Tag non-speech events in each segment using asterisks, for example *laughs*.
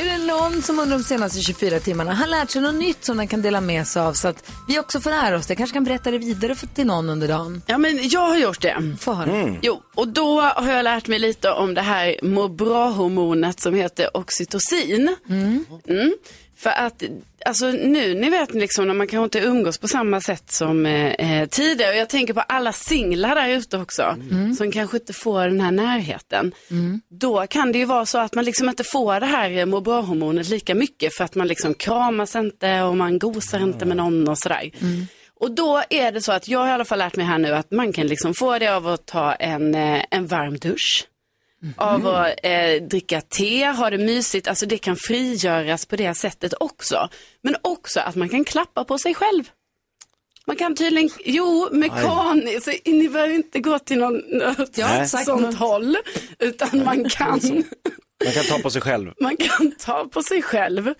Är det någon som under de senaste 24 timmarna har lärt sig något nytt som den kan dela med sig av så att vi också får lära oss det? Kanske kan berätta det vidare för- till någon under dagen? Ja, men jag har gjort det. Få höra. Jo, och då har jag lärt mig lite om det här må bra-hormonet som heter oxytocin. Mm. För att, alltså nu, ni vet liksom när man kanske inte umgås på samma sätt som eh, eh, tidigare. Och jag tänker på alla singlar där ute också, som kanske inte får den här närheten. Då kan det ju vara så att man liksom inte får det här eh, må bra-hormonet lika mycket för att man liksom kramas inte och man gosar inte med någon och sådär. Och då är det så att jag har i alla fall lärt mig här nu att man kan liksom få det av att ta en, eh, en varm dusch Mm. av att eh, dricka te, ha det mysigt, alltså det kan frigöras på det sättet också. Men också att man kan klappa på sig själv. Man kan tydligen, jo, mekaniskt, så ni behöver inte gå till någon, något Jag har inte sagt sånt något. håll, utan man *laughs* kan, Man kan ta på sig själv. man kan *laughs* ta på sig själv.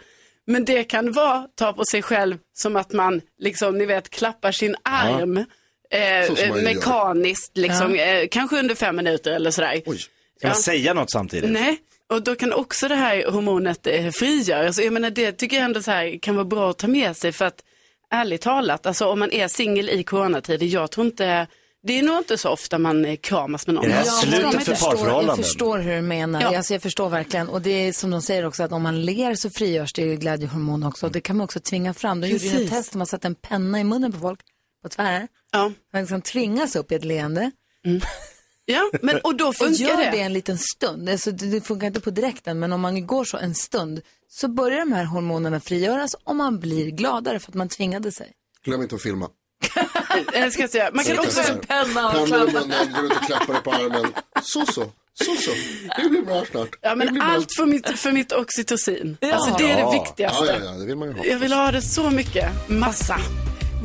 Men det kan vara ta på sig själv som att man, liksom, ni vet, klappar sin arm eh, Så som man gör. mekaniskt, liksom, eh, kanske under fem minuter eller sådär. Oj. Ska man säga något samtidigt? Nej, och då kan också det här hormonet eh, frigöras. Jag menar, det tycker jag ändå så här kan vara bra att ta med sig för att ärligt talat, alltså om man är singel i coronatider, jag tror inte, det är nog inte så ofta man eh, kramas med någon. Är det här Jag tror slutet inte- jag för förstår- parförhållanden. Jag förstår hur du menar. Ja. Alltså, jag förstår verkligen. Och det är som de säger också att om man ler så frigörs det ju glädjehormon också. Och det kan man också tvinga fram. De gjorde ju en Precis. test där man satte en penna i munnen på folk på tvären. Ja. Man liksom tvingas upp i ett leende. ja, men och då Och funkar gör det. det. en liten stund. Alltså, det det funkar inte på direkten, men om man går så en stund så börjar de här hormonerna frigöras och man blir gladare för att man tvingade sig. Glöm inte att filma. *laughs* Eh, Ska jag säga. Man kan Jag också, testar. penna och Pennan i munnen, går runt och klappar dig på armen. Så så, så så. Det blir bra snart. ja det men blir bra. allt för mitt, för mitt oxytocin. Alltså det är det Ja. Ja, ja, viktigaste. ja, det vill man ju ha. Jag vill ha det så mycket, massa.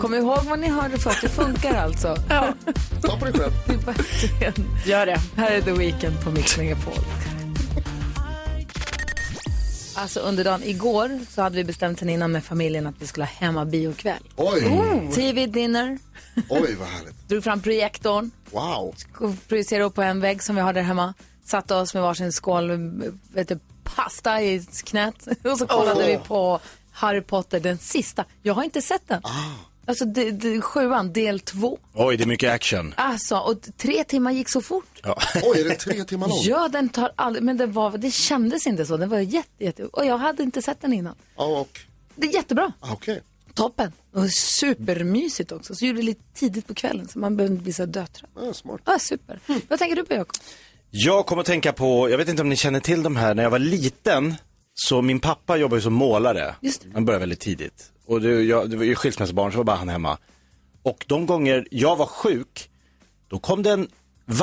Kom ihåg vad ni hörde för att det funkar alltså. Ja, Ta på dig själv. Det är verkligen- gör det. Här är The Weeknd på Mix Megapol. Alltså under dagen igår så hade vi bestämt sen innan med familjen att vi skulle ha hemmabiokväll. Oj, Mm. TV-dinner, oj vad härligt. drog fram projektorn, Wow. och projicerade upp på en vägg som vi har där hemma. Satte oss med varsin skål vet du, pasta i knät *laughs* och så kollade Åh. vi på Harry Potter, den sista. Jag har inte sett den. Alltså de, de, sjuan, del två. Oj, det är mycket action. Alltså, och tre timmar gick så fort. Oj, är det tre timmar lång? Ja, den tar aldrig, men det, var, det kändes inte så. Den var jätte, jätte, och jag hade inte sett den innan. Ja, och, Det är jättebra. ah, okej. Toppen. Och supermysigt också. Så gjorde det lite tidigt på kvällen så man behövde inte bli så dötrött. Ja, smart. Ja, super. Hmm. Vad tänker du på Jakob? Jag kommer att tänka på, jag vet inte om ni känner till de här, när jag var liten så min pappa jobbade ju som målare. Just det. Han började väldigt tidigt. Och det, jag, det var ju skilsmässobarn så var bara han hemma. Och de gånger jag var sjuk, då kom det en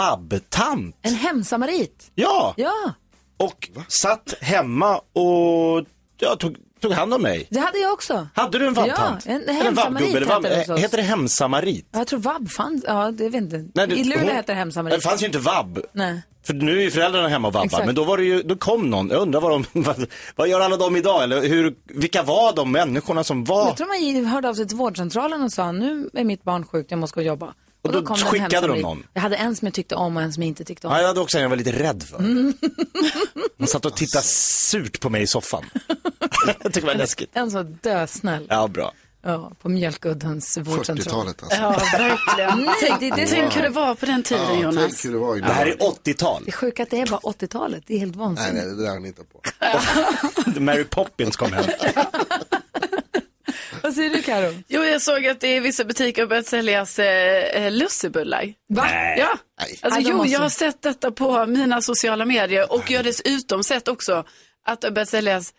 vabbtant. En hemsamarit. Ja! Ja, Och satt hemma och ja, tog, tog hand om mig. det hade jag också. Hade du en vabbtant? Ja, en- en Eller hemsamarit vabbgubbe, eller vabb- heter det hos oss. Heter det hemsamarit? Ja, Jag tror vab fanns. Ja, det vet inte. Nej, det- I Luleå hon- heter det Det hemsamarit. fanns ju inte vabb. Nej. För nu är ju föräldrarna hemma och vabbar. Exakt. Men då var det ju, då kom någon. Jag undrar vad de, *laughs* vad, vad gör alla de idag? Eller hur, vilka var de människorna som var? Jag tror man ju hörde av sig till vårdcentralen och sa nu är mitt barn sjukt, jag måste gå och jobba. Och, då det en skickade de hemsamarit. någon. Jag hade en som jag tyckte om och en som jag inte tyckte om. Ja, jag hade också en jag var lite rädd för. Mm. Hon satt och tittade surt på mig i soffan. *laughs* jag tyckte det var läskigt. En som var dösnäll. Ja, bra. Ja, på Mjölkuddens vårdcentral. 40-talet alltså. Ja, *laughs* verkligen. Nej, det, det, är Tänk så- hur det var på den Ja, tiden, Jonas. Tänk hur det var Det här innan. är 80-tal. det är sjukt att det är bara 80-talet. Det är helt Nej, vansinnigt. nej, det där har ni inte på. Mary Poppins kom hem. Vad säger du Karo? Jo, jag såg att det i vissa butiker har börjat säljas eh, eh, lussebullar. Va? Ja, alltså, Nej, de jo, måste- jag har sett detta på mina sociala medier och jag har dessutom sett också att det har börjat säljas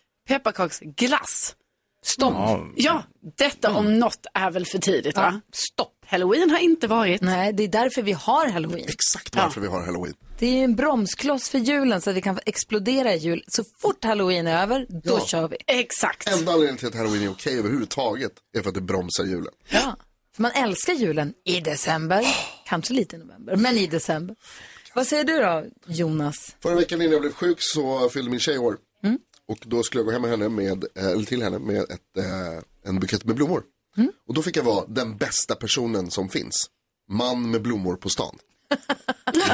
pepparkaksglass. Stopp. Ja. Ja, detta om något är väl för tidigt va? Stopp. Halloween har inte varit. Nej, det är därför vi har halloween. Exakt varför vi har halloween. Det är ju en bromskloss för julen så att vi kan explodera i jul. Så fort halloween är över, då Ja. kör vi. Exakt. Enda anledningen till att halloween är okej överhuvudtaget är för att det bromsar julen. Ja. För man älskar julen i december, kanske lite i november, men i december. Vad säger du då, Jonas? Förra veckan innan jag blev sjuk så fyllde min tjej år. Mm. Och då skulle jag gå hem med henne med, eh, eller till henne med ett, eh, en bukett med blommor. Mm. Och då fick jag vara den bästa personen som finns. Man med blommor på stan.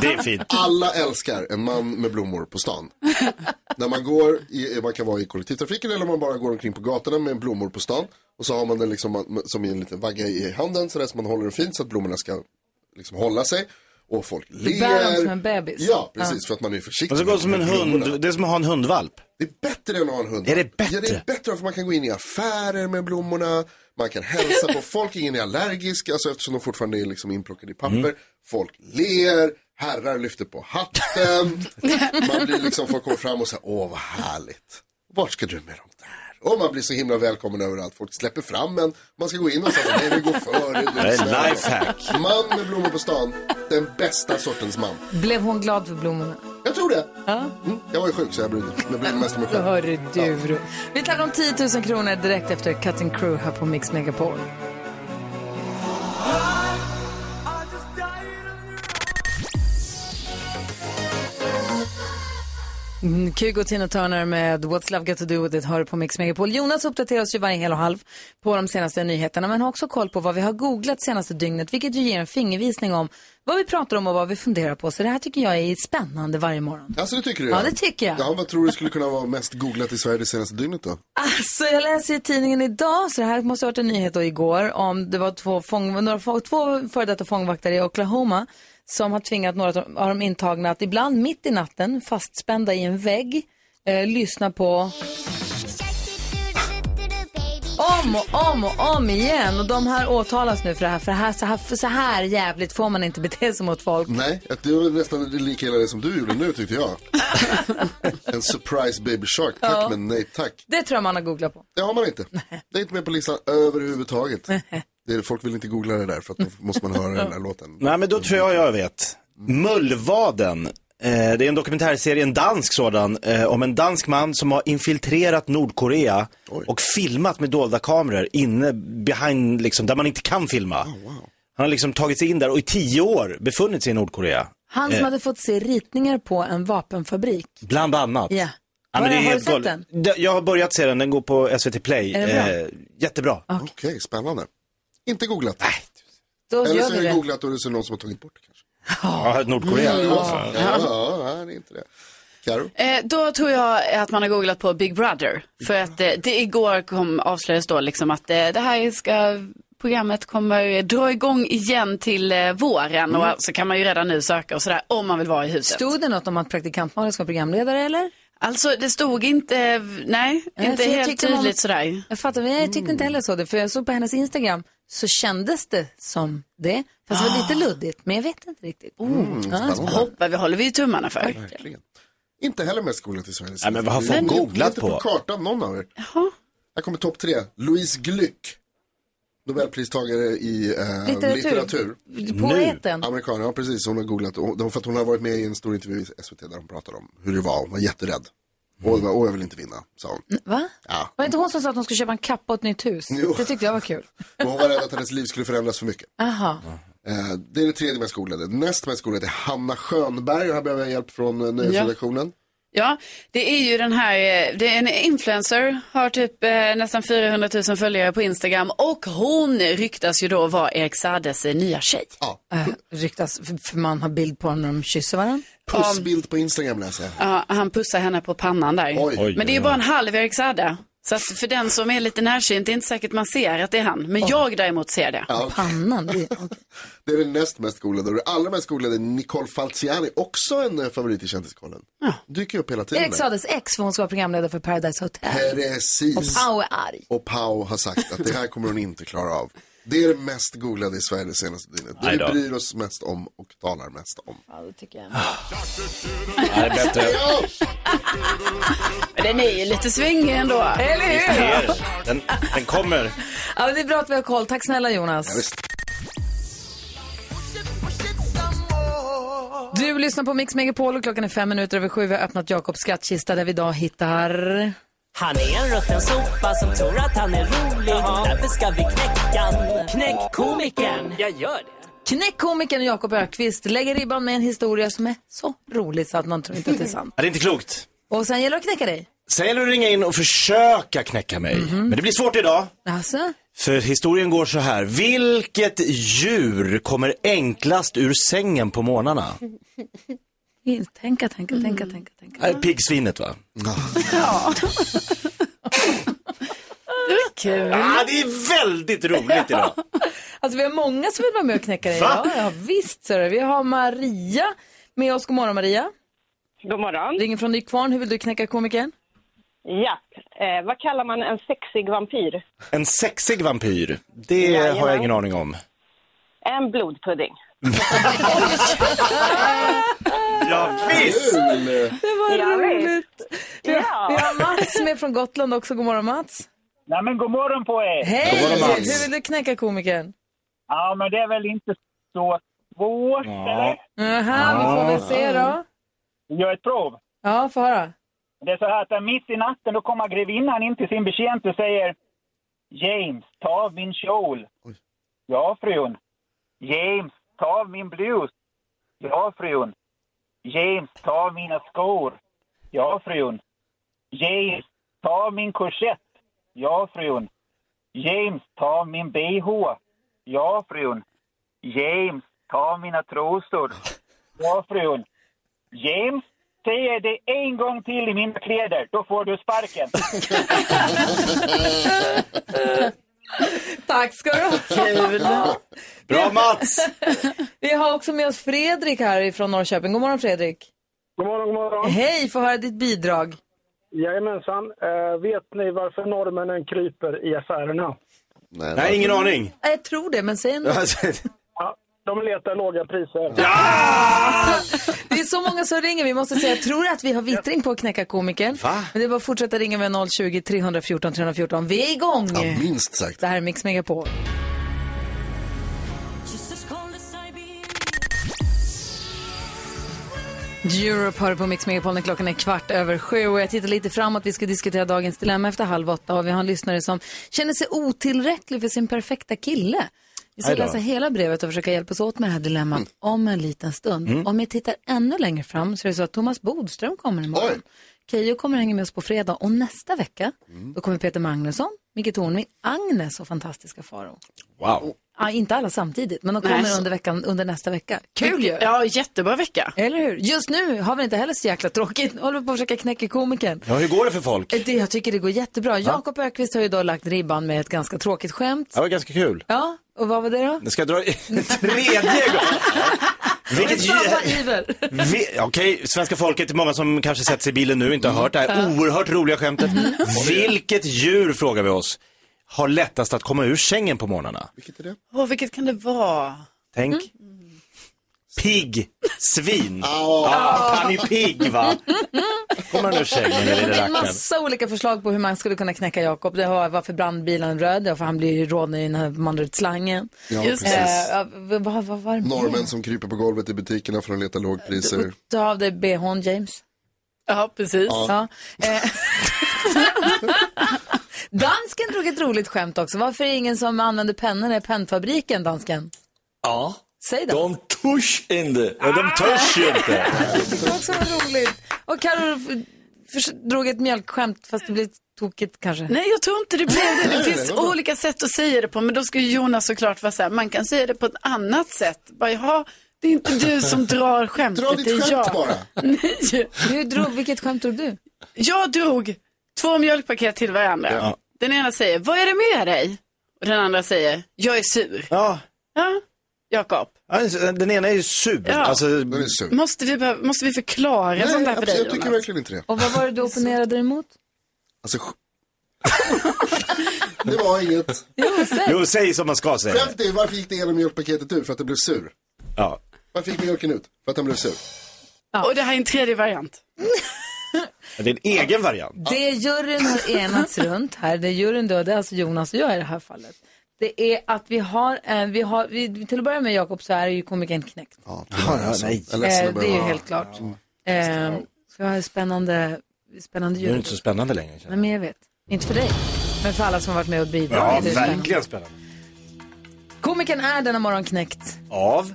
Det är fint. Alla älskar en man med blommor på *laughs* stan. När man går, i, man kan vara i kollektivtrafiken eller man bara går omkring på gatorna med blommor på stan. Och så har man den liksom man- som i en liten vagga i handen sådär så man håller den fint så att blommorna ska liksom hålla sig. Och folk ler. bär dem som en bebis. Ja, precis. För att man är försiktig. Och så går det som en med blommorna. hund, det är som att ha en hundvalp. Det är bättre än att ha en hund. Är det bättre? Ja, det är bättre för man kan gå in i affärer med blommorna, man kan hälsa på folk, ingen är allergisk, alltså eftersom de fortfarande är liksom inplockade i papper. Mm. Folk ler, herrar lyfter på hatten, man blir liksom, folk kommer fram och säger, åh vad härligt, vart ska du med dem där? Och man blir så himla välkommen överallt, folk släpper fram en, man ska gå in och säga, nej vi går före. du Det är snäll." lifehack. Man med blommor på stan, den bästa sortens man. Blev hon glad för blommorna? Jag tror det. Mm. Jag var ju sjuk så jag brydde jag brydde mig mest om mig själv. Hörru du. Vi tackar om 10 000 kronor direkt efter Cutting Crew här på Mix Megapol. Mm, Kygo och Tina Turner med What's Love Got To Do With It hör på Mix Megapol. Jonas uppdaterar oss ju varje hel och halv på de senaste nyheterna men har också koll på vad vi har googlat senaste dygnet vilket ju ger en fingervisning om vad vi pratar om och vad vi funderar på. Så det här tycker jag är spännande varje morgon. Alltså det tycker du? Ja, det tycker jag. Ja, vad tror du skulle kunna vara mest googlat i Sverige det senaste dygnet då? Alltså, jag läser i tidningen idag, så det här måste ha varit en nyhet då igår, om det var två, fång, några, få- två före detta fångvaktare i Oklahoma som har tvingat några av de intagna att ibland mitt i natten, fastspända i en vägg, eh, lyssna på om och om och om igen. Och de här åtalas nu för det här, för det här, så här, för så här jävligt får man inte bete sig mot folk. Nej, att det var nästan lika illa det som du gjorde nu tyckte jag. en surprise baby shark, tack men nej tack. Det tror jag man har googlat på. Det har man inte. Det är inte med på listan överhuvudtaget. Det är, folk vill inte googla det där för att då måste man höra den där låten. Nej, men då tror jag jag vet. Mullvaden. Eh, det är en dokumentärserie, en dansk sådan, eh, om en dansk man som har infiltrerat Nordkorea och filmat med dolda kameror inne, behind, liksom, där man inte kan filma. Han har liksom tagit sig in där och i tio år befunnit sig i Nordkorea. Han Eh. som hade fått se ritningar på en vapenfabrik. Bland annat. Ja. Ja, men Har- det är har du helt sett galet. den? Det- Jag har börjat se den, den går på SVT Play. Eh, Är den bra? jättebra. Okej, spännande. Inte googlat. Då Eller gör så vi är det det. googlat och det är så någon som har tagit bort det kanske. Ja, Nordkorea. Mm. Ja, ja, nej, det är inte det. Karo? Eh, då tror jag att man har googlat på Big Brother. För att eh, det igår kom, avslöjades då liksom att eh, det här ska, programmet kommer dra igång igen till eh, våren. Mm. Och så kan man ju redan nu söka och sådär om man vill vara i huset. Stod det något om att praktikant Malin ska vara programledare eller? Alltså det stod inte, nej, Nej, inte för jag helt tyckte man- tydligt sådär. Jag fattar, men jag tyckte inte Mm. heller så. Det, för jag såg på hennes Instagram så kändes det som det. Fast det var lite luddigt, men jag vet inte riktigt. ja. Ah. Mm, Spännande. Hoppa, vi håller vi tummarna för. Verkligen. Inte heller mest googlat i Sverige. Nej, men vad har folk Det är inte- googlat inte på på? kartan någon av er. Jaha. Här kommer topp tre. Louise Glück. Nobelpristagare i eh, litteratur. Poeten. Mm. Amerikan, ja precis. Hon har googlat. Hon, för att hon har varit med i en stor intervju i SVT där hon pratade om hur det var. Hon var jätterädd. Och, Mm. det var, och jag vill inte vinna, sa hon. Mm. Va? Ja. Var det inte hon som sa att hon skulle köpa en kappa och ett nytt hus? Jo. Det tyckte jag var kul. Och hon var rädd att hennes liv skulle förändras för mycket. Aha. Eh, det är det tredje mest googlade. Näst mest googlade är Hanna Schönberg. Och här behöver jag hjälp från eh, nyhetsredaktionen. Ja, det är ju den här, eh, det är en influencer, har typ eh, nästan 400 000 följare på Instagram och hon ryktas ju då vara Erik Saades eh, nya tjej. Ja. Äh, ryktas, för- för man har bild på dem när de kysser varandra. Pussbild på Instagram läser jag. Ja, han pussar henne på pannan där. Oj. Oj, Men det är ju oj, bara en halv Erik Saade. Så att för den som är lite närsynt, det är inte säkert man ser att det är han. Men jag däremot ser det. Ja, Pannan. Det, okej. Det är den näst mest googlade och det allra mest googlade är Nicole Falciani, också en eh, favorit i kändiskollen. Dyker upp hela tiden. Erik där. Saades ex, för hon ska vara programledare för Paradise Hotel. Precis. Au är arg. Och Pau har sagt att det här kommer hon inte klara av. Det är det mest googlade i Sverige det senaste dygnet. Det Aj vi då. bryr oss mest om och talar mest om. Ja, det tycker jag. Ja, det *laughs* är bättre. Men den är ju lite svängig ändå. Eller hur? Den, den kommer. Ja, men det är bra att vi har koll. Tack snälla Jonas. visst. Du lyssnar på Mix Megapol och klockan är fem minuter över sju. Vi har öppnat Jakobs skattkista där vi idag hittar... Han är en rutten sopa som tror att han är rolig. Därför ska vi knäcka han. Knäck komikern. Jag gör det. Knäck komikern Jakob Ökvist lägger ribban med en historia som är så rolig så att man tror inte att det är sant. Ja, det är inte klokt. Och sen gäller det att knäcka dig. Sen gäller det att ringa in och försöka knäcka mig. Men det blir svårt idag. Alltså? För historien går så här. Vilket djur kommer enklast ur sängen på morgnarna? Tänka, tänka, tänka, tänka, tänka. Äh, Piggsvinet va? *laughs* Kul. Ah, det är väldigt roligt idag. Alltså vi har många som vill vara med och knäcka dig Va? idag. Ja, visst ser du. Vi har Maria med oss. God morgon Maria. God morgon. Ringer från Nykvarn. Hur vill du knäcka komikern? Ja. Eh, vad kallar man en sexig vampyr? En sexig vampyr, det har jag Jajamän. ingen aning om. En blodpudding. Ja, visst! Det var Ja, visst. roligt. Vi har, Ja. vi har Mats med från Gotland också. God morgon Mats. Nej men god morgon på er! Hej! morgon, Mats. Hur vill du knäcka komikern? Ja men det är väl inte så svårt eller? Aha, vi får väl se då. Vi gör ett prov. Ja, få höra. Det är så här att där mitt i natten då kommer grevinnan in till sin betjänt och säger James, ta av min kjol. Ja frun. James, ta av min blus. Ja frun. James, ta av mina skor. Ja frun. James, ta av min korsett. Ja frun. James, ta av min bh. Ja frun. James, ta av mina trosor. Ja frun. James, säger jag det en gång till i mina kläder, då får du sparken. Tack ska du ha. Bra Mats! Vi har också med oss Fredrik här från Norrköping. God morgon Fredrik. God morgon, god morgon. Hej, få höra ditt bidrag. Jajamensan. Eh, vet ni varför norrmännen kryper i affärerna? Nej, ingen aning. Ja, Jag tror det, men säg ändå. Ja, de letar låga priser. Det är så många som ringer. Vi måste säga, jag tror att vi har vittring på att knäcka komikern. Va? Men det är bara att fortsätta ringa med 020-314 314. Vi är igång! Ja, minst sagt. Det här är Mix Megapol. Europe hör på Mix Megapol när klockan är kvart över sju och jag tittar lite framåt. Vi ska diskutera dagens dilemma efter halv åtta och vi har en lyssnare som känner sig otillräcklig för sin perfekta kille. Vi ska Aj då. läsa hela brevet och försöka hjälpas åt med det här dilemmat om en liten stund. Om jag tittar ännu längre fram så är det så att Thomas Bodström kommer imorgon. Oj. Keyyo kommer hänga med oss på fredag och nästa vecka då kommer Peter Magnusson, Micke Tornving, Agnes och fantastiska Faro. Wow. Ja, inte alla samtidigt, men de kommer Nej, så- under, veckan, under nästa vecka. Kul ju! Ja, jättebra vecka. Eller hur? Just nu har vi inte heller så jäkla tråkigt. Håller på att försöka knäcka komikern. Ja, hur går det för folk? Det, jag tycker det går jättebra. Jakob Ökvist har ju då lagt ribban med ett ganska tråkigt skämt. Det var ganska kul. Ja, och vad var det då? Nu ska jag dra *laughs* tredje gången. Vilket Samma djur... iver. Vi... Okej, svenska folket, många som kanske sätter sig i bilen nu och inte har hört det här oerhört roliga skämtet. Vilket djur, frågar vi oss, har lättast att komma ur sängen på morgnarna? Vilket är det? Åh, vilket kan det vara? Tänk. Pigg. Svin. Ah, han är pigg va? Kommer han ur sängen den lille Det är en rackaren? massa olika förslag på hur man skulle kunna knäcka Jakob. Det har varför brann bilen röd, det var för han blir ju rånad när man drar ut slangen. Ja, Just precis. Eh, ja, vad, vad, vad var det? Norrmän som kryper på golvet i butikerna för att leta lågpriser. Ta av dig bhn, James. Ja, precis. Ja. Eh, *laughs* dansken drog ett roligt skämt också. Varför är det ingen som använder pennorna i pennfabriken, dansken? Ja, Säg då. de törs inte. Ja, de törs ju inte. Det var också roligt. Och Carro drog ett mjölkskämt, fast det blev tokigt kanske. Nej, jag tror inte det blev det. Det finns var bra. olika sätt att säga det på, men då ska ju Jonas såklart vara så här, man kan säga det på ett annat sätt. Bara, jaha, det är inte du *laughs* som drar skämtet, Dra det ditt är jag. skämt bara. *laughs* Nej. Hur drog, vilket skämt drog du? Jag drog två mjölkpaket till varandra. Ja. Den ena säger, vad är det med dig? Och den andra säger, jag är sur. Ja, Ja, Jakob, alltså, den ena är ju sur. Ja. Alltså, Den är sur. måste vi, behöva- måste vi förklara sånt här för absolut, dig jag tycker Jonas? verkligen inte det. Och vad var det du opponerade dig emot? Alltså, sj- *laughs* det var inget. jo, säg som man ska säga. Skämt är, varför gick det ena mjölkpaketet ut? För att det blev sur. Ja. Varför gick mjölken ut? För att den blev sur. Och det här är en tredje variant. Det är en egen variant. Det juryn har enats runt här, det juryn då, det är alltså Jonas och jag i det här fallet. Det är att vi har, eh, vi har vi, till att börja med Jakob så är ju komikern knäckt. Ja, det var alltså. nej. Jag är Eh, ledsen att det är ju behöva- helt klart. Eh, så vi har en spännande spännande Nu är det ljud. inte så spännande längre. känner Nej, men jag vet. Inte för dig, men för alla som har varit med och jag. Ja, bidragit. Det är spännande. verkligen spännande. Komikern är denna morgon knäckt. Av?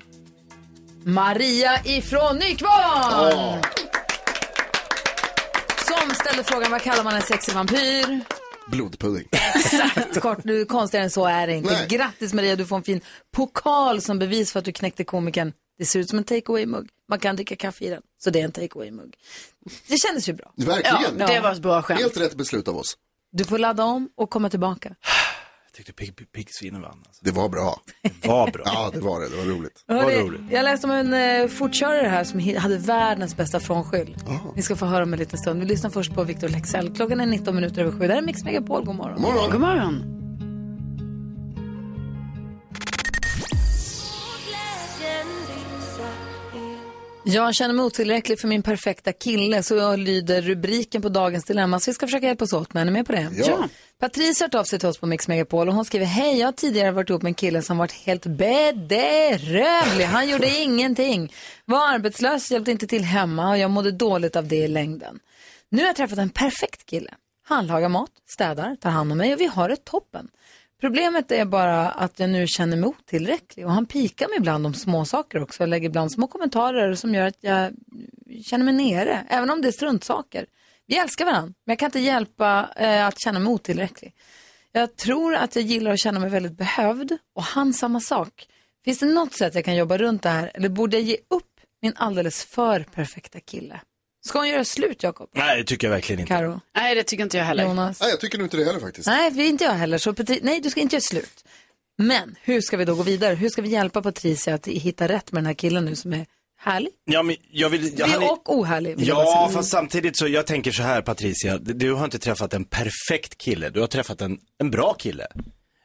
Maria ifrån Nykvarn! Som ställde frågan vad kallar man en sexig vampyr? *laughs* Blodpudding. Kort, du, konstigare än så är det inte. Nej. Grattis Maria, du får en fin pokal som bevis för att du knäckte komikern. Det ser ut som en takeaway-mugg. Man kan dricka kaffe i den, så det är en takeaway-mugg. Det kändes ju bra. *laughs* Verkligen. Ja, det var ett bra skämt. Helt rätt beslut av oss. Du får ladda om och komma tillbaka. Jag tyckte pigg- piggsvinen vann. Alltså. Det *laughs* var bra. Det var bra. Ja, det var det. Det var roligt. Mm. Hörde, roligt. jag läste om en eh, fortkörare här som hi- hade världens bästa frånskyll. Ni ska få höra om en liten stund. Vi lyssnar först på Victor Lexell. Klockan är 19 minuter över sju. Det här är Mix Megapol. God morgon. Morgon. God morgon. Jag känner mig otillräcklig för min perfekta kille så jag lyder rubriken på dagens dilemma så vi ska försöka hjälpas åt med. Är ni med på det? Ja. Patrice har hört av sig till oss på Mix Megapol och hon skriver Hej, jag har tidigare varit ihop med en kille som varit helt bedrövlig. Han gjorde ingenting. Var arbetslös, hjälpte inte till hemma och jag mådde dåligt av det i längden. Nu har jag träffat en perfekt kille. Han lagar mat, städar, tar hand om mig och vi har det toppen. Problemet är bara att jag nu känner mig otillräcklig och han pikar mig ibland om små saker också och lägger ibland små kommentarer som gör att jag känner mig nere, även om det är struntsaker. Vi älskar varandra, men jag kan inte hjälpa eh, att känna mig otillräcklig. Jag tror att jag gillar att känna mig väldigt behövd och han samma sak. Finns det något sätt jag kan jobba runt det här eller borde jag ge upp min alldeles för perfekta kille? Ska hon göra slut, Jakob? Nej, det tycker jag verkligen inte. Karo? Nej, det tycker inte jag heller. Jonas? Nej, jag tycker nog inte det heller faktiskt. Nej, vi- inte jag heller. Så Patri- nej, du ska inte göra slut. Men hur ska vi då gå vidare? Hur ska vi hjälpa Patricia att hitta rätt med den här killen nu som är härlig? Ja, men jag vill... Jag, Vi han är- och ohärlig. vill jag bara Ja, säga. fast samtidigt så, jag tänker så här Patricia, d- du har inte träffat en perfekt kille, du har träffat en, en bra kille.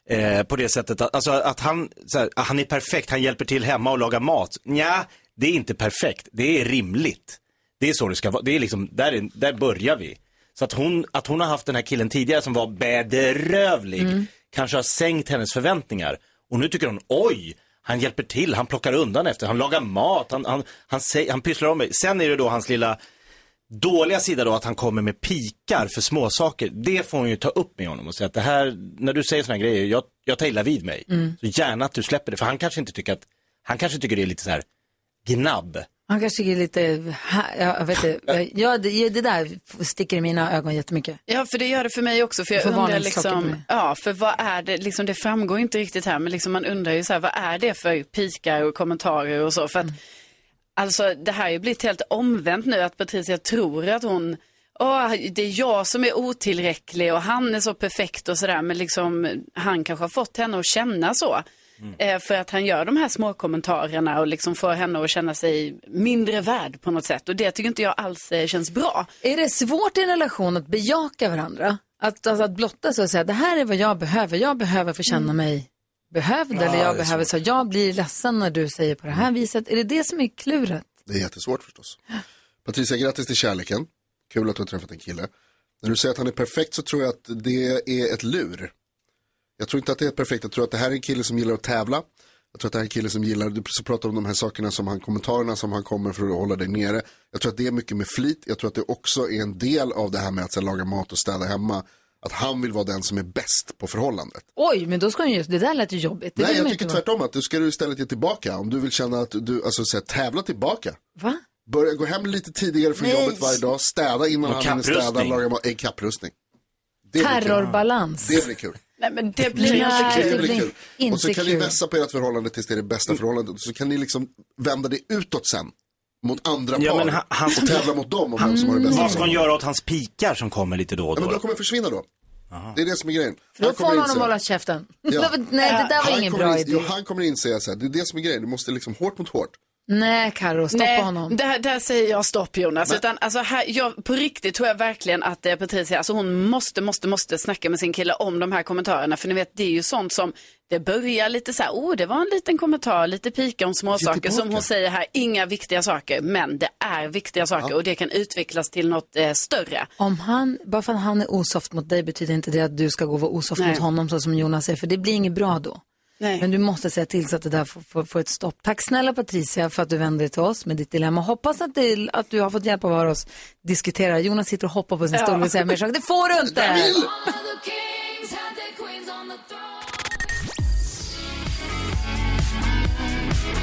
Eh, på det sättet att, alltså att han, så här, han är perfekt, han hjälper till hemma och lagar mat. Nja, det är inte perfekt, det är rimligt. Det är så det ska vara, det är liksom, där, är, där börjar vi. Så att hon, att hon har haft den här killen tidigare som var bedrövlig, Mm. kanske har sänkt hennes förväntningar. Och nu tycker hon, oj, han hjälper till, han plockar undan efter, han lagar mat, han, han, han, säger, han pysslar om mig. Sen är det då hans lilla, dåliga sida då att han kommer med pikar för småsaker, det får hon ju ta upp med honom och säga att det här, när du säger sådana grejer, jag, jag tar illa vid mig. Så gärna att du släpper det, för han kanske inte tycker att, han kanske tycker det är lite så här gnabb. Han kanske är lite, hä- ja, jag vet inte, ja, det, det där sticker i mina ögon jättemycket. Ja, för det gör det för mig också. För jag För undrar varningsklockan på liksom, mig. ja, för vad är det, liksom det framgår inte riktigt här, men liksom man undrar ju så här, vad är det för pikar och kommentarer och så? För att, alltså det här har ju blivit helt omvänt nu, att Patricia tror att hon, åh, det är jag som är otillräcklig och han är så perfekt och sådär, men liksom han kanske har fått henne att känna så. Eh, För att han gör de här små kommentarerna och liksom får henne att känna sig mindre värd på något sätt. Och det tycker inte jag alls eh, känns bra. Är det svårt i en relation att bejaka varandra? Att, alltså, att blotta sig och säga det här är vad jag behöver, jag behöver få känna mig behövd eller jag behöver så jag blir ledsen när du säger på det här viset. Är det det som är kluret? Det är jättesvårt förstås. Patricia, grattis till kärleken. Kul att du har träffat en kille. När du säger att han är perfekt så tror jag att det är ett lur. Jag tror inte att det är perfekt. Jag tror att det här är en kille som gillar att tävla. Jag tror att det här är en kille som gillar, du pratar om de här sakerna som han, kommentarerna som han kommer för att hålla dig nere. Jag tror att det är mycket med flit. Jag tror att det också är en del av det här med att så här, laga mat och städa hemma. Att han vill vara den som är bäst på förhållandet. Oj, men då ska hon ju, det där lät ju jobbigt. Det Nej, vill man ju jag tycker inte vara. tvärtom att du ska du istället ge tillbaka. Om du vill känna att du, alltså så här, tävla tillbaka. Va? Börja gå hem lite tidigare från jobbet varje dag, städa innan Och han hinner städa, kapprustning. laga mat, en kapprustning. Det blir kul. Terrorbalans. Det blir kul. Nej, men det blir Nej. inte kul. det Det blir blir kul. inte Och så kan ni kul. Mm. vässa på ert förhållande tills det är det bästa förhållandet. Så kan ni liksom vända det utåt sen. Mot andra Ja, par. men han- han- och tävla mot dem om vem som har det bästa Vad ska hon förhållandet. göra åt hans pikar som kommer lite då och Ja, men de då? kommer försvinna då. Det är det som är grejen. För då Han får kommer man inse- honom hålla käften. Ja. Nej, det där var han ingen kommer bra inse- idé. Jo, han kommer inse att det är det som är grejen. Du måste liksom hårt mot hårt. Nej, Karo, stoppa Nej, honom. Där, där säger jag stopp Jonas. Utan, alltså, här, jag, på riktigt tror jag verkligen att eh, Patricia, alltså, hon måste, måste, måste snacka med sin kille om de här kommentarerna. För ni vet, det är ju sånt som, det börjar lite så här, oh det var en liten kommentar, lite pika om småsaker. Som hon säger här, inga viktiga saker, men det är viktiga saker och det kan utvecklas till något eh, större. Om han, bara för att han är osoft mot dig betyder inte det att du ska gå och vara osoft Nej. mot honom så som Jonas säger, för det blir inget bra då. Nej. Men du måste se till så att det där får, får, får ett stopp. Tack snälla Patricia för att du vände dig till oss med ditt dilemma. Hoppas att, det, att du har fått hjälp av att höra oss diskutera. Jonas sitter och hoppar på sin stol och säger mer saker. Det får du inte!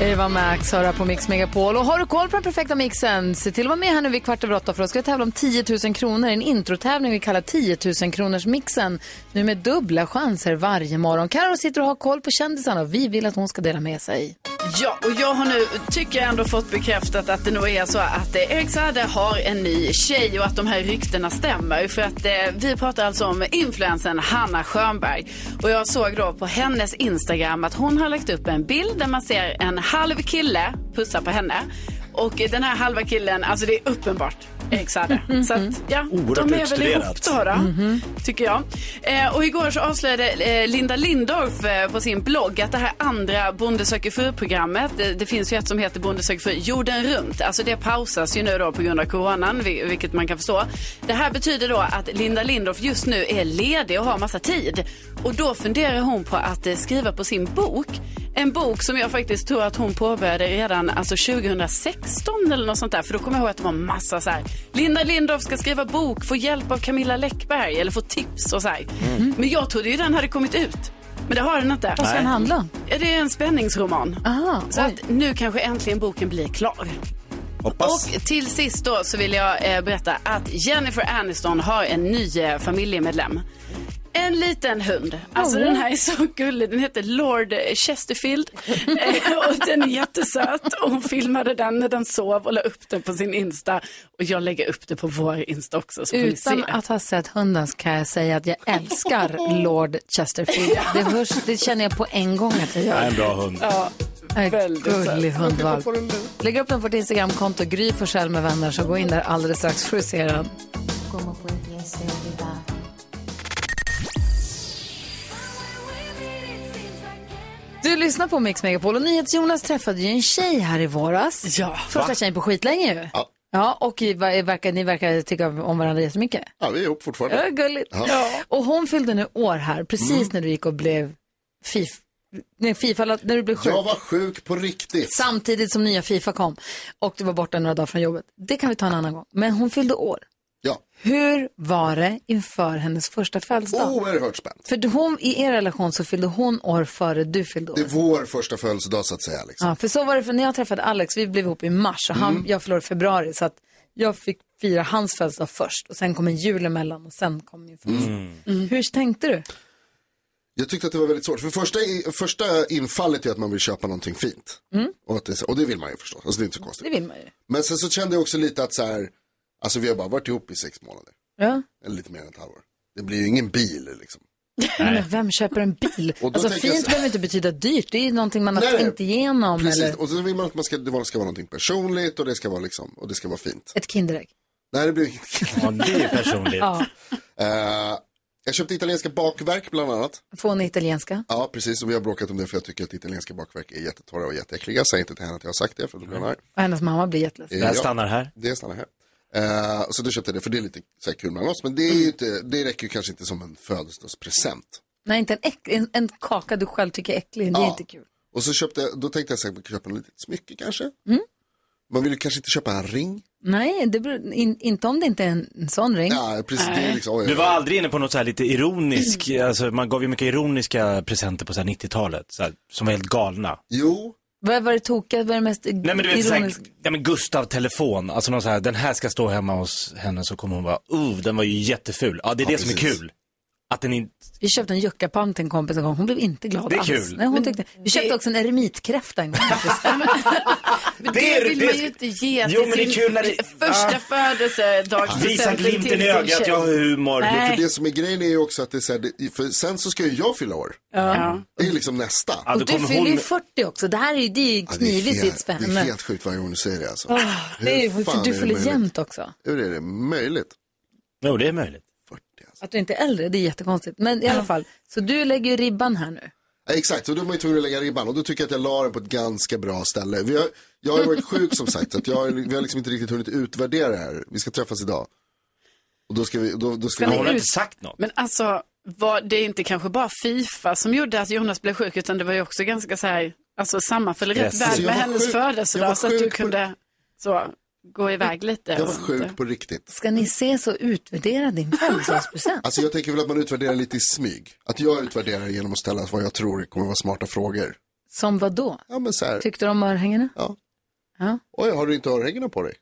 Eva Max hör här på Mix Megapol. Och har du koll på den perfekta mixen? Se till att vara med här nu vid kvart över åtta för då ska vi tävla om 10 000 kronor. En introtävling vi kallar 10 000 kronors mixen. Nu med dubbla chanser varje morgon. Karo sitter och har koll på kändisarna och vi vill att hon ska dela med sig. Ja, och jag har nu, tycker jag ändå fått bekräftat att det nog är så att eh, Erik Saade har en ny tjej och att de här ryktena stämmer. För att eh, vi pratar alltså om influensen Hanna Schönberg. Och jag såg då på hennes Instagram att hon har lagt upp en bild där man ser en halv kille pussa på henne. Och eh, den här halva killen, alltså det är uppenbart Erik Saade. Så att, ja, Mm. Oerhört de är väl utstuderat. Mm-hmm. ihop då, då tycker jag. Eh, och igår så avslöjade eh, Linda Lindorff eh, på sin blogg att det här andra Bonde söker fru-programmet, eh, det, det finns ju ett som heter Bonde söker fru, jorden runt. Alltså det pausas ju nu då på grund av coronan, vi- vilket man kan förstå. Det här betyder då att Linda Lindorff just nu är ledig och har massa tid. Och då funderar hon på att eh, skriva på sin bok. En bok som jag faktiskt tror att hon påbörjade redan alltså 2016 eller något sånt där. För då kommer jag ihåg att det var massa så här. Linda Lindorff ska skriva bok, få hjälp av Camilla Läckberg eller få tips och så här. Men jag trodde ju den hade kommit ut. Men det har den inte. Mm. Vad ska den handla om? Ah. Ja, Det är en spänningsroman. Aha, så att nu kanske äntligen boken blir klar. Hoppas. Och till sist då så vill jag eh, berätta att Jennifer Aniston har en ny eh, familjemedlem. En liten hund. Alltså den här är så gullig. Den heter Lord *laughs* Chesterfield. Eh, och den är jättesöt. Och hon filmade den när den sov och la upp den på sin Insta. Och jag lägger upp det på vår Insta också så får ni se. Utan att ha sett hunden kan jag säga att jag älskar Lord Chesterfield. Det, hörs, det känner jag på en gång att jag Det är gör. en bra hund. En väldigt gullig hundvalp. Får den nu? Lägg upp den på ditt Instagramkonto, Gry Forssell med vänner, så gå in där alldeles strax för att se den. Du lyssnar på Mix Megapol och NyhetsJonas träffade ju en tjej här i våras. Ja, Första tjejen på skitlänge ju. Ja. Ja, och i- va- verkar, ni verkar tycka om varandra jättemycket. Ja, vi är ihop fortfarande. Ja, gulligt. Och hon fyllde nu år här, precis när du gick och blev fif... Nej, fifa, när du blev sjuk. Jag var sjuk på riktigt. Samtidigt som nya Fifa kom och du var borta några dagar från jobbet. Det kan vi ta en annan gång. Men hon fyllde år. Ja. Hur var det inför hennes första födelsedag? Oerhört spänt. För hon, i er relation så fyllde hon år före du fyllde år. Det är vår första födelsedag så att säga. Liksom. Ja, för så var det för när jag träffade Alex, vi blev ihop i mars och Mm. han, jag förlorade februari så att jag fick fira hans födelsedag först och sen kom en jul emellan och sen kom min födelsedag. Mm. Mm. Hur tänkte du? Jag tyckte att det var väldigt svårt. För första, första infallet är att man vill köpa någonting fint. Och, att det, är så- och det vill man ju förstås. Alltså det är inte så konstigt. Mm. Det vill man ju. Men sen så kände jag också lite att så här, alltså vi har bara varit ihop i sex månader. Ja. Eller lite mer än ett halvår. Det blir ju ingen bil liksom. Nej. Men vem köper en bil? Och då Alltså tänker jag fint så- behöver inte betyda dyrt, det är ju någonting man har Nej, tänkt igenom. Precis, Eller och så vill man att man ska, det ska vara någonting personligt och det ska vara liksom, och det ska vara fint. ett Kinderägg. Nej, det blir inget. *laughs* Ja, det är personligt. Ja. Eh, jag köpte italienska bakverk bland annat. Från italienska. Ja, precis. Och vi har bråkat om det för jag tycker att italienska bakverk är jättetorra och jätteäckliga. Säg inte till henne att jag har sagt det för då blir hon arg. Och hennes mamma blir jätteledsen. Det här Ja, stannar här. Det stannar här. Eh, så då köpte jag det för det är lite så här kul mellan oss. Men det, är ju inte, det räcker ju kanske inte som en födelsedagspresent. Nej, inte en, äck, en, en kaka du själv tycker är äcklig. Det är Ja. inte kul. Och så köpte jag, då tänkte jag säkert man kan köpa en litet smycke kanske. Mm. Man vill ju kanske inte köpa en ring. Nej, det beror, in, inte om det inte är en, en sån ring. Ja, precis. Det är liksom, oj, Du var aldrig inne på något så här lite ironisk, alltså man gav ju mycket ironiska presenter på så här 90-talet, så här, som var helt galna. Jo, Vad var det tokiga? Vad är det mest Nej men du vet såhär, ironiska? ja men Gustav telefon, alltså någon så här, den här ska stå hemma hos henne så kommer hon vara, oh den var ju jätteful. Ja det är Ja, det som är precis. kul. Att den inte, Vi köpte en juckapalm till en kompis en gång. Hon blev inte glad Det är alls. kul. Nej, hon tyckte, vi köpte också en eremitkräfta en gång. *laughs* faktiskt. Men Det det, är- vill det- man ju inte ge Jo, till men det är sin kul när det- första Ah. födelsedagspresenten visa till glimten i sin ögat, tjej. jag har humor. Nej. för det som är grejen är ju också att det är så här, det, för sen så ska ju jag fylla år. Ja. Det är ju liksom nästa. Ja, då Och du kommer fyller hon, ju 40 också. Det här är ju, det är ju Ja, det är knivigt helt- sitt Det är spänne. helt sjukt varje gång du säger det alltså. Ah. Det är ju, fan för du det fyller möjligt? jämnt också. Hur är det möjligt? jo det är möjligt. 40 alltså. Att du inte är äldre, det är jättekonstigt. Men i alla fall, så du lägger ju ribban här nu. Ja, exakt, så då är man ju tvungen att lägga ribban och då tycker jag att jag la den på ett ganska bra ställe. Vi har, jag har ju varit sjuk som sagt, så att jag, har- vi har liksom inte riktigt hunnit utvärdera det här. Vi ska träffas idag. Och då ska vi, då, då ska Men vi hon har inte sagt något. Men alltså, var det inte kanske bara Fifa som gjorde att Jonas blev sjuk, utan det var ju också ganska så här, alltså sammanföll rätt Stress. väl Alltså, jag med var hennes sjuk- jag var födelsedag, så att sjuk du på- kunde så, gå iväg lite. Jag var och sånt där. sjuk på riktigt. Ska ni ses och utvärdera din födelsedagspresent? Alltså jag tänker väl att man utvärderar lite i smyg. Att jag utvärderar genom att ställa vad jag tror kommer vara smarta frågor. Som vad då? Ja men så här, Tyckte du om örhängena? Ja. Typ- ja. oj har du inte örhängena på dig?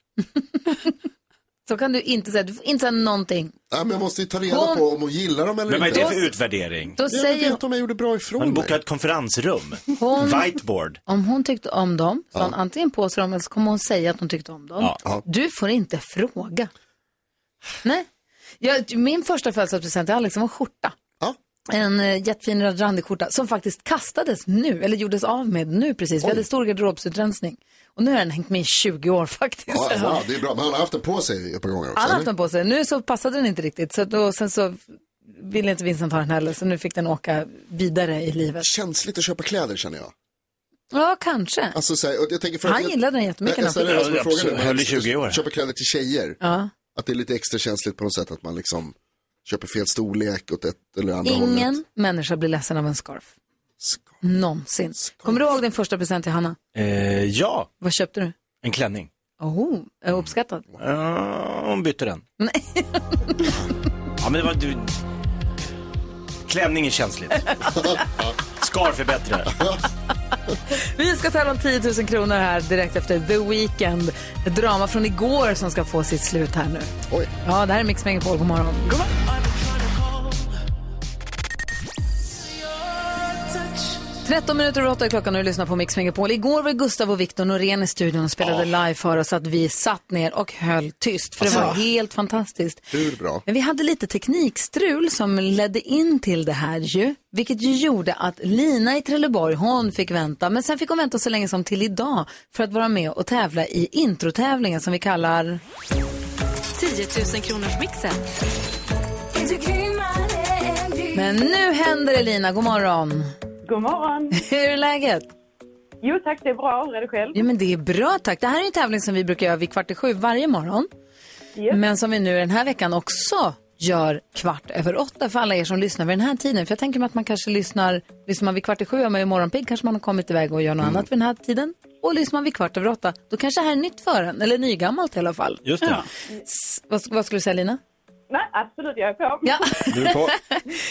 Så kan du inte säga, du får inte säga någonting. Nej men jag måste ju ta reda Hon- på om hon gillar dem eller Men vad är inte. det för utvärdering? Då Jag säger vet om jag gjorde bra ifrån Man mig. bokar ett konferensrum. hon, Whiteboard. om hon tyckte om dem, så hon antingen på sig dem eller så kommer hon säga att hon tyckte om dem. Ja. Ja. Du får inte fråga. Nej. Jag, min första födelsedagspresent till Alex var en skjorta. Ja. En eh, jättefin randig skjorta som faktiskt kastades nu, eller gjordes av med nu precis. Vi hade stor garderobsutrensning. Och nu har den hängt med i 20 år faktiskt. Ja, wow, det är bra. Men han har haft den på sig ett par gånger också. Alla har haft eller? den på sig. Nu så passade den inte riktigt. Så då, sen så ville inte Vincent ha den heller, så nu fick den åka vidare i livet. Känsligt att köpa kläder känner jag. Ja, kanske. Alltså, så här, och jag tänker för Han gillade den jättemycket Jag, när han jag fick ställer det som en den. fråga nu. Absolut, höll i 20 år. Köpa kläder till tjejer. Ja. Att det är lite extra känsligt på något sätt att man liksom köper fel storlek åt ett eller andra hållet. Ingen människa blir ledsen av en scarf. Ska- Någonsin. Kommer du ihåg din första present till Hanna? Eh, ja, Vad köpte du? en klänning. Oh, är uppskattad. Eh, hon bytte den. ja, men det var... Du... Klänning är känsligt. Scarf är bättre. Vi ska tävla om 10 000 kronor här direkt efter The Weeknd. Ett drama från igår som ska få sitt slut här nu. Oj. Ja, det här är Mix Megapol. God morgon. God 13 minuter över åtta är klockan och du lyssnar på Mix Megapol. Igår var Gustav och Viktor Norén i studion och spelade live för oss att vi satt ner och höll tyst. För det var helt fantastiskt. Hur bra? Men vi hade lite teknikstrul som ledde in till det här ju, vilket ju gjorde att Lina i Trelleborg, hon fick vänta, men sen fick hon vänta så länge som till idag för att vara med och tävla i introtävlingen som vi kallar 10 000 kronors mixen. Men nu händer det Lina, god morgon. God morgon! *laughs* Hur är läget? Jo tack, det är bra. Hur är det själv? Ja, men det är bra tack. Det här är en tävling som vi brukar göra vid kvart i sju varje morgon. Yes. Men som vi nu den här veckan också gör kvart över åtta för alla er som lyssnar vid den här tiden. För jag tänker mig att man kanske lyssnar, lyssnar man vid kvart i sju är man ju morgonpigg, kanske man har kommit iväg och gör något annat vid den här tiden. Och lyssnar man vid kvart över åtta, då kanske det här är nytt för en, eller nygammalt i alla fall. Just det. S- vad, vad skulle du säga Lina? Nej, absolut, jag är på. *laughs* Ja. Du är på.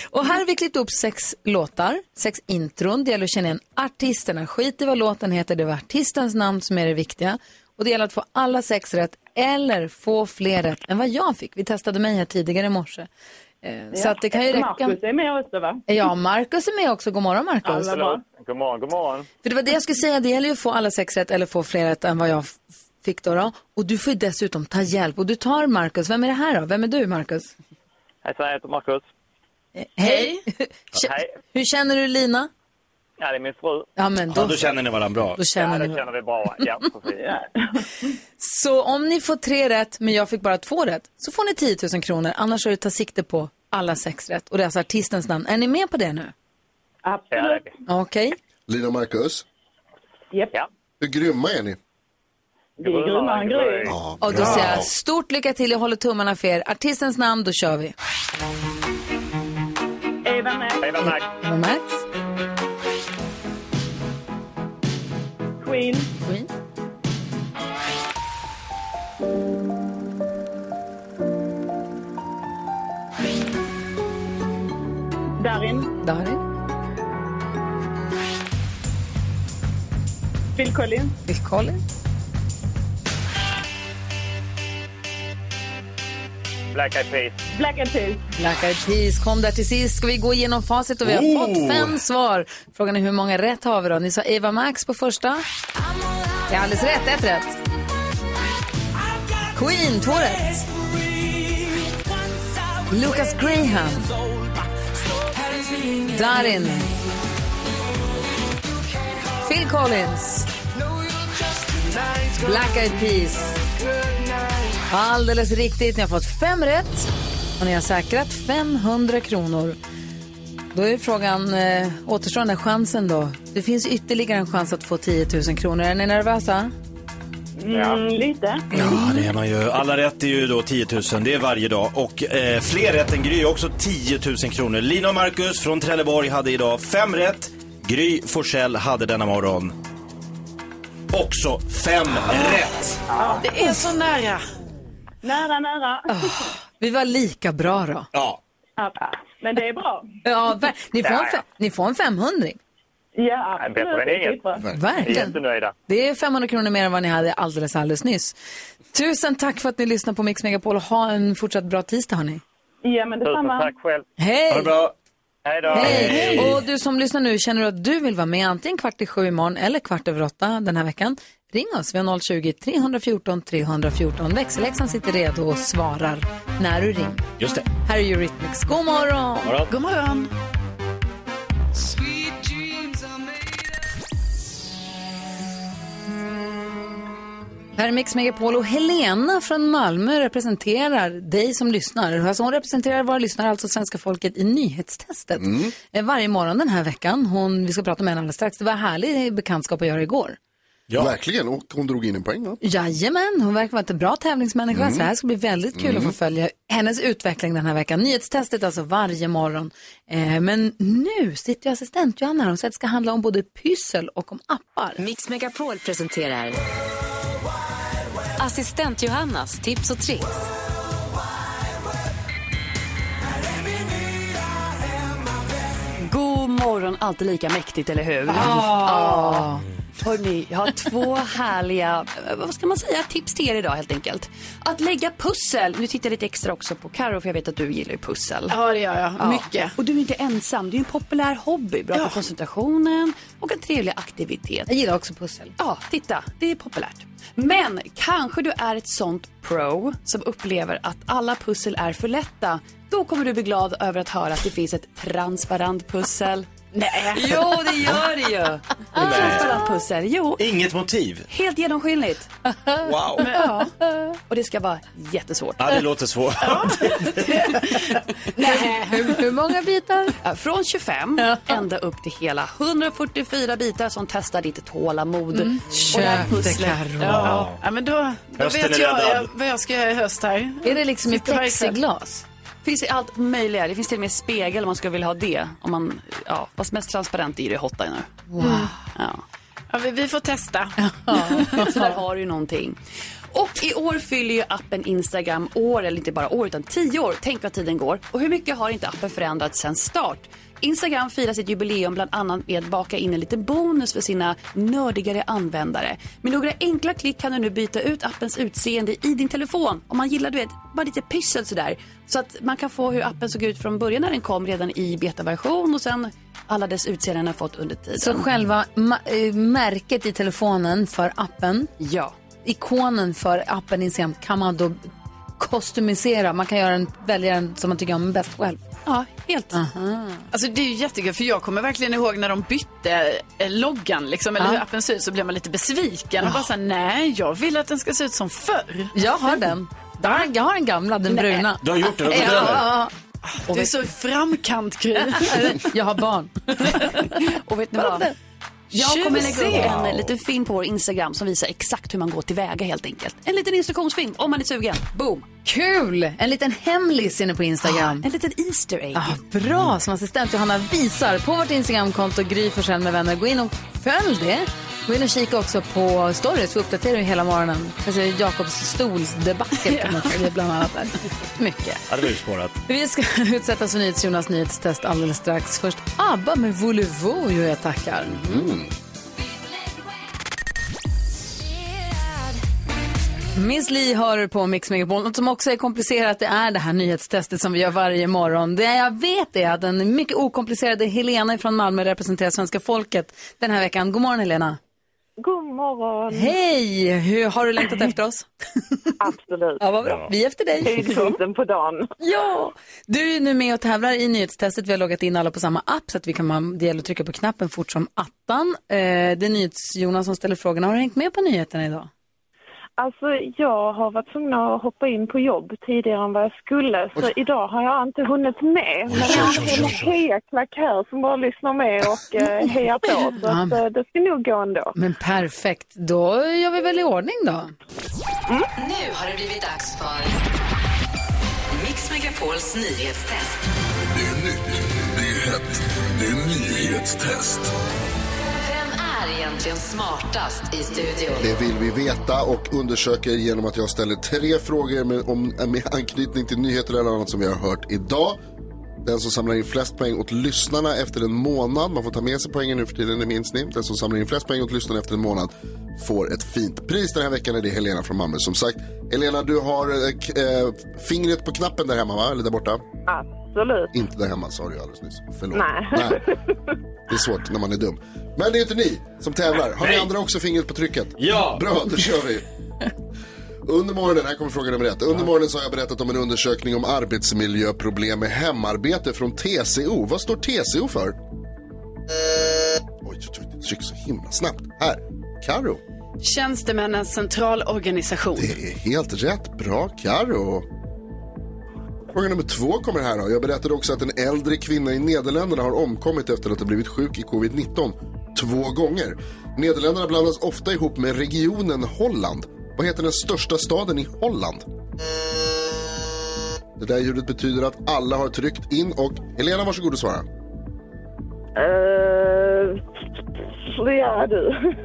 Och här har vi klippt upp sex låtar, sex intron. Det gäller att känna igen artisterna. Skit i vad låten heter, det var artistens namn som är det viktiga. Och det gäller att få alla sex rätt eller få fler rätt än vad jag fick. Vi testade mig här tidigare i morse. Eh, Så att det kan ju räcka. Marcus är med också va? Ja, Markus är med också. God morgon Markus. Alla bra. *laughs* God morgon, god morgon. För det var det jag skulle säga, det gäller ju att få alla sex rätt eller få fler rätt än vad jag f- fick då. då. Och du får ju dessutom ta hjälp. Och du tar Markus. Vem är det här då? Vem är du Markus? Hejsan, jag heter Marcus. Hej. *laughs* Hur känner du Lina? Ja, det är min fru. Ja, men då, Ja, då känner ni varandra bra. då känner ni varandra. vi bra. Ja, precis. Så om ni får tre rätt, men jag fick bara två rätt, så får ni 10 000 kronor. Annars är det ta sikte på alla sex rätt. Och det är alltså artistens namn. Är ni med på det nu? Absolut. Okej. Lina och Marcus, Japp. hur grymma är ni? Vi är grymmare än Gry. Och då säger jag stort lycka till. Jag håller tummarna för er. Artistens namn, då kör vi. Eva med. Eva Max, Queen. Queen, Darin. Darin, Phil Collins. Phil Collins, Black Eyed Peas. Black Eyed Peas. Black Eyed Peas kom där till sist. Ska vi gå igenom facit och vi har Oh. fått fem svar. Frågan är hur många rätt har vi då? Ni sa Eva Max på första. Det är alldeles rätt. Ett rätt. Queen, två rätt. Lucas Graham. Darin. Phil Collins. Black Eyed Peas. Alldeles riktigt. Ni har fått fem rätt och ni har säkrat 500 kronor. Då är frågan, eh, återstår den här chansen då? Det finns ytterligare en chans att få 10 000 kronor. Är ni nervösa? Mm, lite. Ja, det är man ju. Alla rätt är ju då 10 000, det är varje dag. Och eh, fler rätt än Gry är också 10 000 kronor. Lina och Marcus från Trelleborg hade idag fem rätt. Gry Forsell hade denna morgon också fem rätt. Det är så nära. Nära, nära. Ah. Vi var lika bra då. Ja. Ja, Men det är bra. Ja, ver- ni, får en fe- ni får en 500. Ja, Nej, bättre absolut. än inget. Skitbra. Verkligen. Vi är jättenöjda. Det är 500 kronor mer än vad ni hade alldeles, alldeles nyss. Tusen tack för att ni lyssnar på Mix Megapol och ha en fortsatt bra tisdag hörni. Ja, men detsamma. tack själv. Hej! Ha det bra. Hej då. Hej! Och du som lyssnar nu, känner du att du vill vara med antingen kvart i sju imorgon eller kvart över åtta den här veckan? Ring oss, vi har 020-314 314. Växelläxan sitter redo och svarar när du ringer. Just det. Här är Eurythmics. God morgon! morgon. God morgon. Här är Mix Megapol och Helena från Malmö representerar dig som lyssnar. Alltså hon representerar våra lyssnare, alltså svenska folket, i nyhetstestet. Eh, Varje morgon den här veckan. Hon, vi ska prata med henne alldeles strax. Det var härlig bekantskap att göra igår. Verkligen, och hon drog in en poäng va? Jajamän, hon verkar vara en bra tävlingsmänniska. Mm. Så det här ska bli väldigt kul att få följa hennes utveckling den här veckan. Nyhetstestet alltså varje morgon. Eh, men nu sitter ju assistent Johanna här och säger att det ska handla om både pyssel och om appar. Mix Megapol presenterar Assistent Johannas tips och tricks. God morgon, alltid lika mäktigt, eller hur? Ah. Ja. Hörrni, jag har två härliga, eh, vad ska man säga, tips till er idag helt enkelt. Att lägga pussel. Nu tittar jag lite extra också på Karo för jag vet att du gillar ju pussel. Ja, det gör jag. Mycket. Och du är inte ensam, det är ju en populär hobby. Bra för koncentrationen och en trevlig aktivitet. Jag gillar också pussel. Ja, titta, det är populärt. Men kanske du är ett sånt pro som upplever att alla pussel är för lätta. Då kommer du bli glad över att höra att det finns ett transparent pussel. Nej. Jo, det gör det *laughs* ju. Ett transparent pussel, jo. Inget motiv. Helt genomskinligt. Wow. Ja. Och det ska vara jättesvårt. Ja, det låter svårt. Nej. *laughs* Hur, många bitar? Eh, Från 25 ända upp till hela 144 bitar som testar ditt tålamod. Mm. Och det här Köp det, pusslet. Karo. Ja. Ja, men då, Då Hösten vet är jag, räddad. jag vad jag ska göra i höst här. Är det liksom i Sitter varje kväll. plexiglas? Finns i allt möjliga. Det finns till och med spegel om man skulle vilja ha det. Om man, ja, fast mest transparent är det hotta nu. Mm. Ja. Ja, vi, vi får testa. *laughs* Så där har du ju någonting. Och i år fyller ju appen Instagram år, eller inte bara år, utan tio år. Tänk vad tiden går. Och hur mycket har inte appen förändrats sedan start? Instagram firar sitt jubileum bland annat med att baka in en liten bonus för sina nördigare användare. Med några enkla klick kan du nu byta ut appens utseende i din telefon om man gillar du vet, bara lite pyssel sådär. Så att man kan få hur appen såg ut från början när den kom redan i betaversion och sen alla dess utseenden har fått under tiden. Så själva ma- eh, märket i telefonen för appen, ja. ikonen för appen Instagram kan man då kostymisera. Man kan göra en, välja den som man tycker om bäst själv. Ja, helt. Alltså det är ju jättekul för jag kommer verkligen ihåg när de bytte eh, loggan liksom, eller Ja. hur appen ser ut så blev man lite besviken och bara såhär, nej jag vill att den ska se ut som förr. Jag har den. Jag har, jag har den gamla, den Nej. bruna. Du har gjort det, du har gått ja. över. Du är så i framkant Gry. Äh, Jag har barn. *laughs* Och vet ni vad? Jag kommer lägga upp Tjusigt. en eh, liten film på vår Instagram som visar exakt hur man går tillväga helt enkelt. En liten instruktionsfilm om man är sugen. *laughs* Boom! Ah, Kul! En liten hemlis inne på Instagram. Ah, en liten Easter egg. bra, som assistent Johanna visar på vårt Instagramkonto Gry Forssell med vänner. Gå in och följ det. Gå in och kika också på stories, vi uppdaterar ju hela morgonen. Alltså Jakobs stolsdebacle *laughs* kan man följa bland annat där. Mycket. Ja, det var urspårat. Vi ska *laughs* utsättas för NyhetsJonas nyhetstest alldeles strax. Först ABBA med Volevo och jag tackar. Miss Li hör på Mix Megapol. Något som också är komplicerat det är det här nyhetstestet som vi gör varje morgon. Det jag vet är att den mycket okomplicerade Helena från Malmö representerar svenska folket den här veckan. God morgon Helena! God morgon. Hej! Hur, har du *laughs* längtat efter oss? Absolut. Ja, vad bra. Vi är efter dig. Höjdpunkten på dagen. Ja! Du är nu med och tävlar i nyhetstestet. Vi har loggat in alla på samma app så att vi kan, det gäller att trycka på knappen fort som attan. Eh, det är NyhetsJonas som ställer frågorna. Har du hängt med på nyheterna idag? Alltså jag har varit tvungen att hoppa in på jobb tidigare än vad jag skulle så idag har jag inte hunnit med. Men jag har en hejaklack här som bara lyssnar med och eh, Mm. hejar på så att, eh, det ska nog gå ändå. Men perfekt, då gör vi väl i ordning då. Nu har det blivit dags för Mix Megapols nyhetstest. Det är nytt, det är hett, det är nyhetstest. Vem är egentligen smartast i studion? Det vill vi veta och undersöker genom att jag ställer tre frågor med, om, med anknytning till nyheter eller annat som vi har hört idag. Den som samlar in flest poäng åt lyssnarna efter en månad, man får ta med sig poängen nu för tiden, det minns ni. Den som samlar in flest poäng åt lyssnarna efter en månad får ett fint pris. Den här veckan är det Helena från Malmö. Som sagt, Helena, du har eh, k- eh, fingret på knappen där hemma, va? Eller där borta? Absolut. Inte där hemma, sa du alldeles nyss. Förlåt. Nej. Det är svårt när man är dum. Men det är inte ni som tävlar. Har ni andra också fingret på trycket? Ja! Bra, då kör vi. Under morgonen, här kommer fråga nummer ett. Under morgonen så har jag berättat om en undersökning om arbetsmiljöproblem med hemarbete från TCO. Vad står TCO för? Oj, oj, oj, det trycks så himla snabbt. Här, Karo. Tjänstemännens centralorganisation. Det är helt rätt. Bra, Karo. Fråga nummer två kommer här. Då. Jag berättade också att en äldre kvinna i Nederländerna har omkommit efter att ha blivit sjuk i covid-19 två gånger. Nederländerna blandas ofta ihop med regionen Holland. Vad heter den största staden i Holland? Det där ljudet betyder att alla har tryckt in och Helena, varsågod och svara. Eh, så ja du.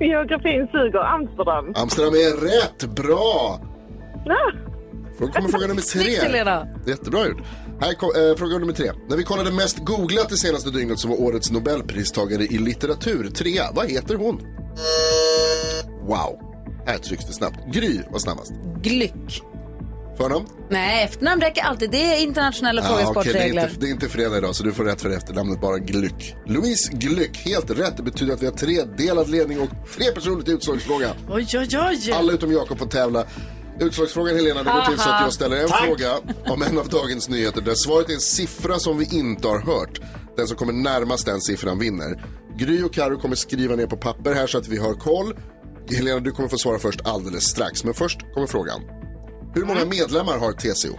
*laughs* Geografin suger. Amsterdam. Amsterdam är rätt bra! Ah, Då kommer fråga nummer tre. Snyggt, Helena. Jättebra gjort. Här kom, eh, fråga nummer tre. När vi kollade mest googlat det senaste dygnet så var årets nobelpristagare i litteratur trea. Vad heter hon? Wow. Här trycks det snabbt. Gry var snabbast. Glyck. Förnamn? Nej, efternamn räcker alltid. Det är internationella Ah, okej, det, är frågesportregler. inte, det är inte fredag idag så du får rätt för efternamnet, bara Glyck. Louise Glyck, helt rätt. Det betyder att vi har tredelad ledning och tre personer till utslagsfråga. Oj, oj, oj. Alla utom Jakob får tävla. Utslagsfrågan Helena, det går till så att jag ställer en Tack. fråga om en av dagens nyheter där svaret är en siffra som vi inte har hört. Den som kommer närmast den siffran vinner. Gry och Karo kommer skriva ner på papper här så att vi har koll. Helena, du kommer få svara först alldeles strax. Men först kommer frågan. Hur många medlemmar har TCO?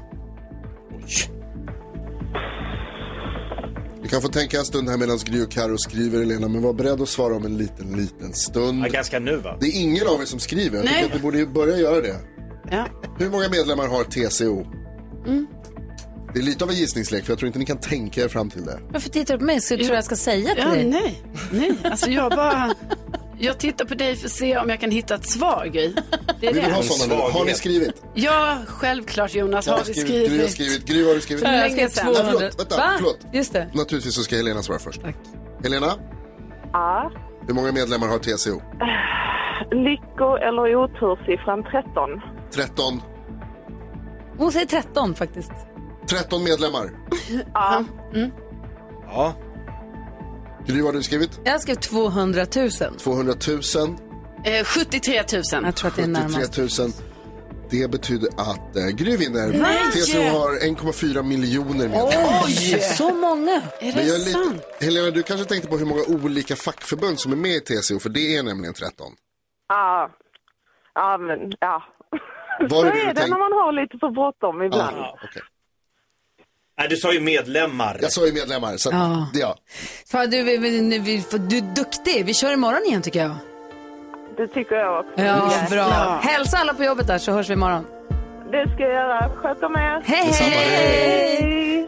Du kan få tänka en stund här medan Gry och Karo skriver, Helena, men var beredd att svara om en liten, liten stund. ganska nu va? Det är ingen av er som skriver. Jag Nej. tycker att ni borde ju börja göra det. Ja. Hur många medlemmar har TCO? Mm. Det är lite av en gissningslek, för jag tror inte ni kan tänka er fram till det. Varför tittar du på mig? Så tror jag jag ska säga till Ja, dig. nej. nej. Alltså jag bara... Jag tittar på dig för att se om jag kan hitta ett svar, Gry. Det är Vi vill det. ha sådana nu. Har ni skrivit? Ja, självklart Jonas. Jag Har vi skrivit? Gry har skrivit. Gry, har du skrivit? För länge sedan. Nej, Ah, förlåt. Vänta, Va? förlåt. Just det. Naturligtvis så ska Helena svara först. Helena, Ja. hur många medlemmar har TCO? Lycko eller otursiffran 13? 13. Hon säger 13 faktiskt. 13 medlemmar. Ja. Ja. Gry, vad har du skrivit? Jag skrev 200 000. 200 000. Eh, 73 000. Jag tror att det är närmast. 73 000. Det betyder att eh, Gry vinner. Nej! TCO har 1,4 miljoner medlemmar. Oj, så många. Men jag är lite, Helena, du kanske tänkte på hur många olika fackförbund som är med i TCO, för det är nämligen 13. Ja. Ja, men ja. Var det så det är du det tänkte? när man har lite för bråttom ibland. Ja, okej. Nej, du sa ju medlemmar. Jag sa ju medlemmar, så att, Ja. det, ja. Fan, du, vi, vi, vi, för- du är duktig. Vi kör imorgon igen tycker jag. Mm. Det tycker jag också. Ja, Yes. bra. Ja. Hälsa alla på jobbet där så hörs vi imorgon. Det ska jag göra. Sköt om er. Hej, Detsamma. hej.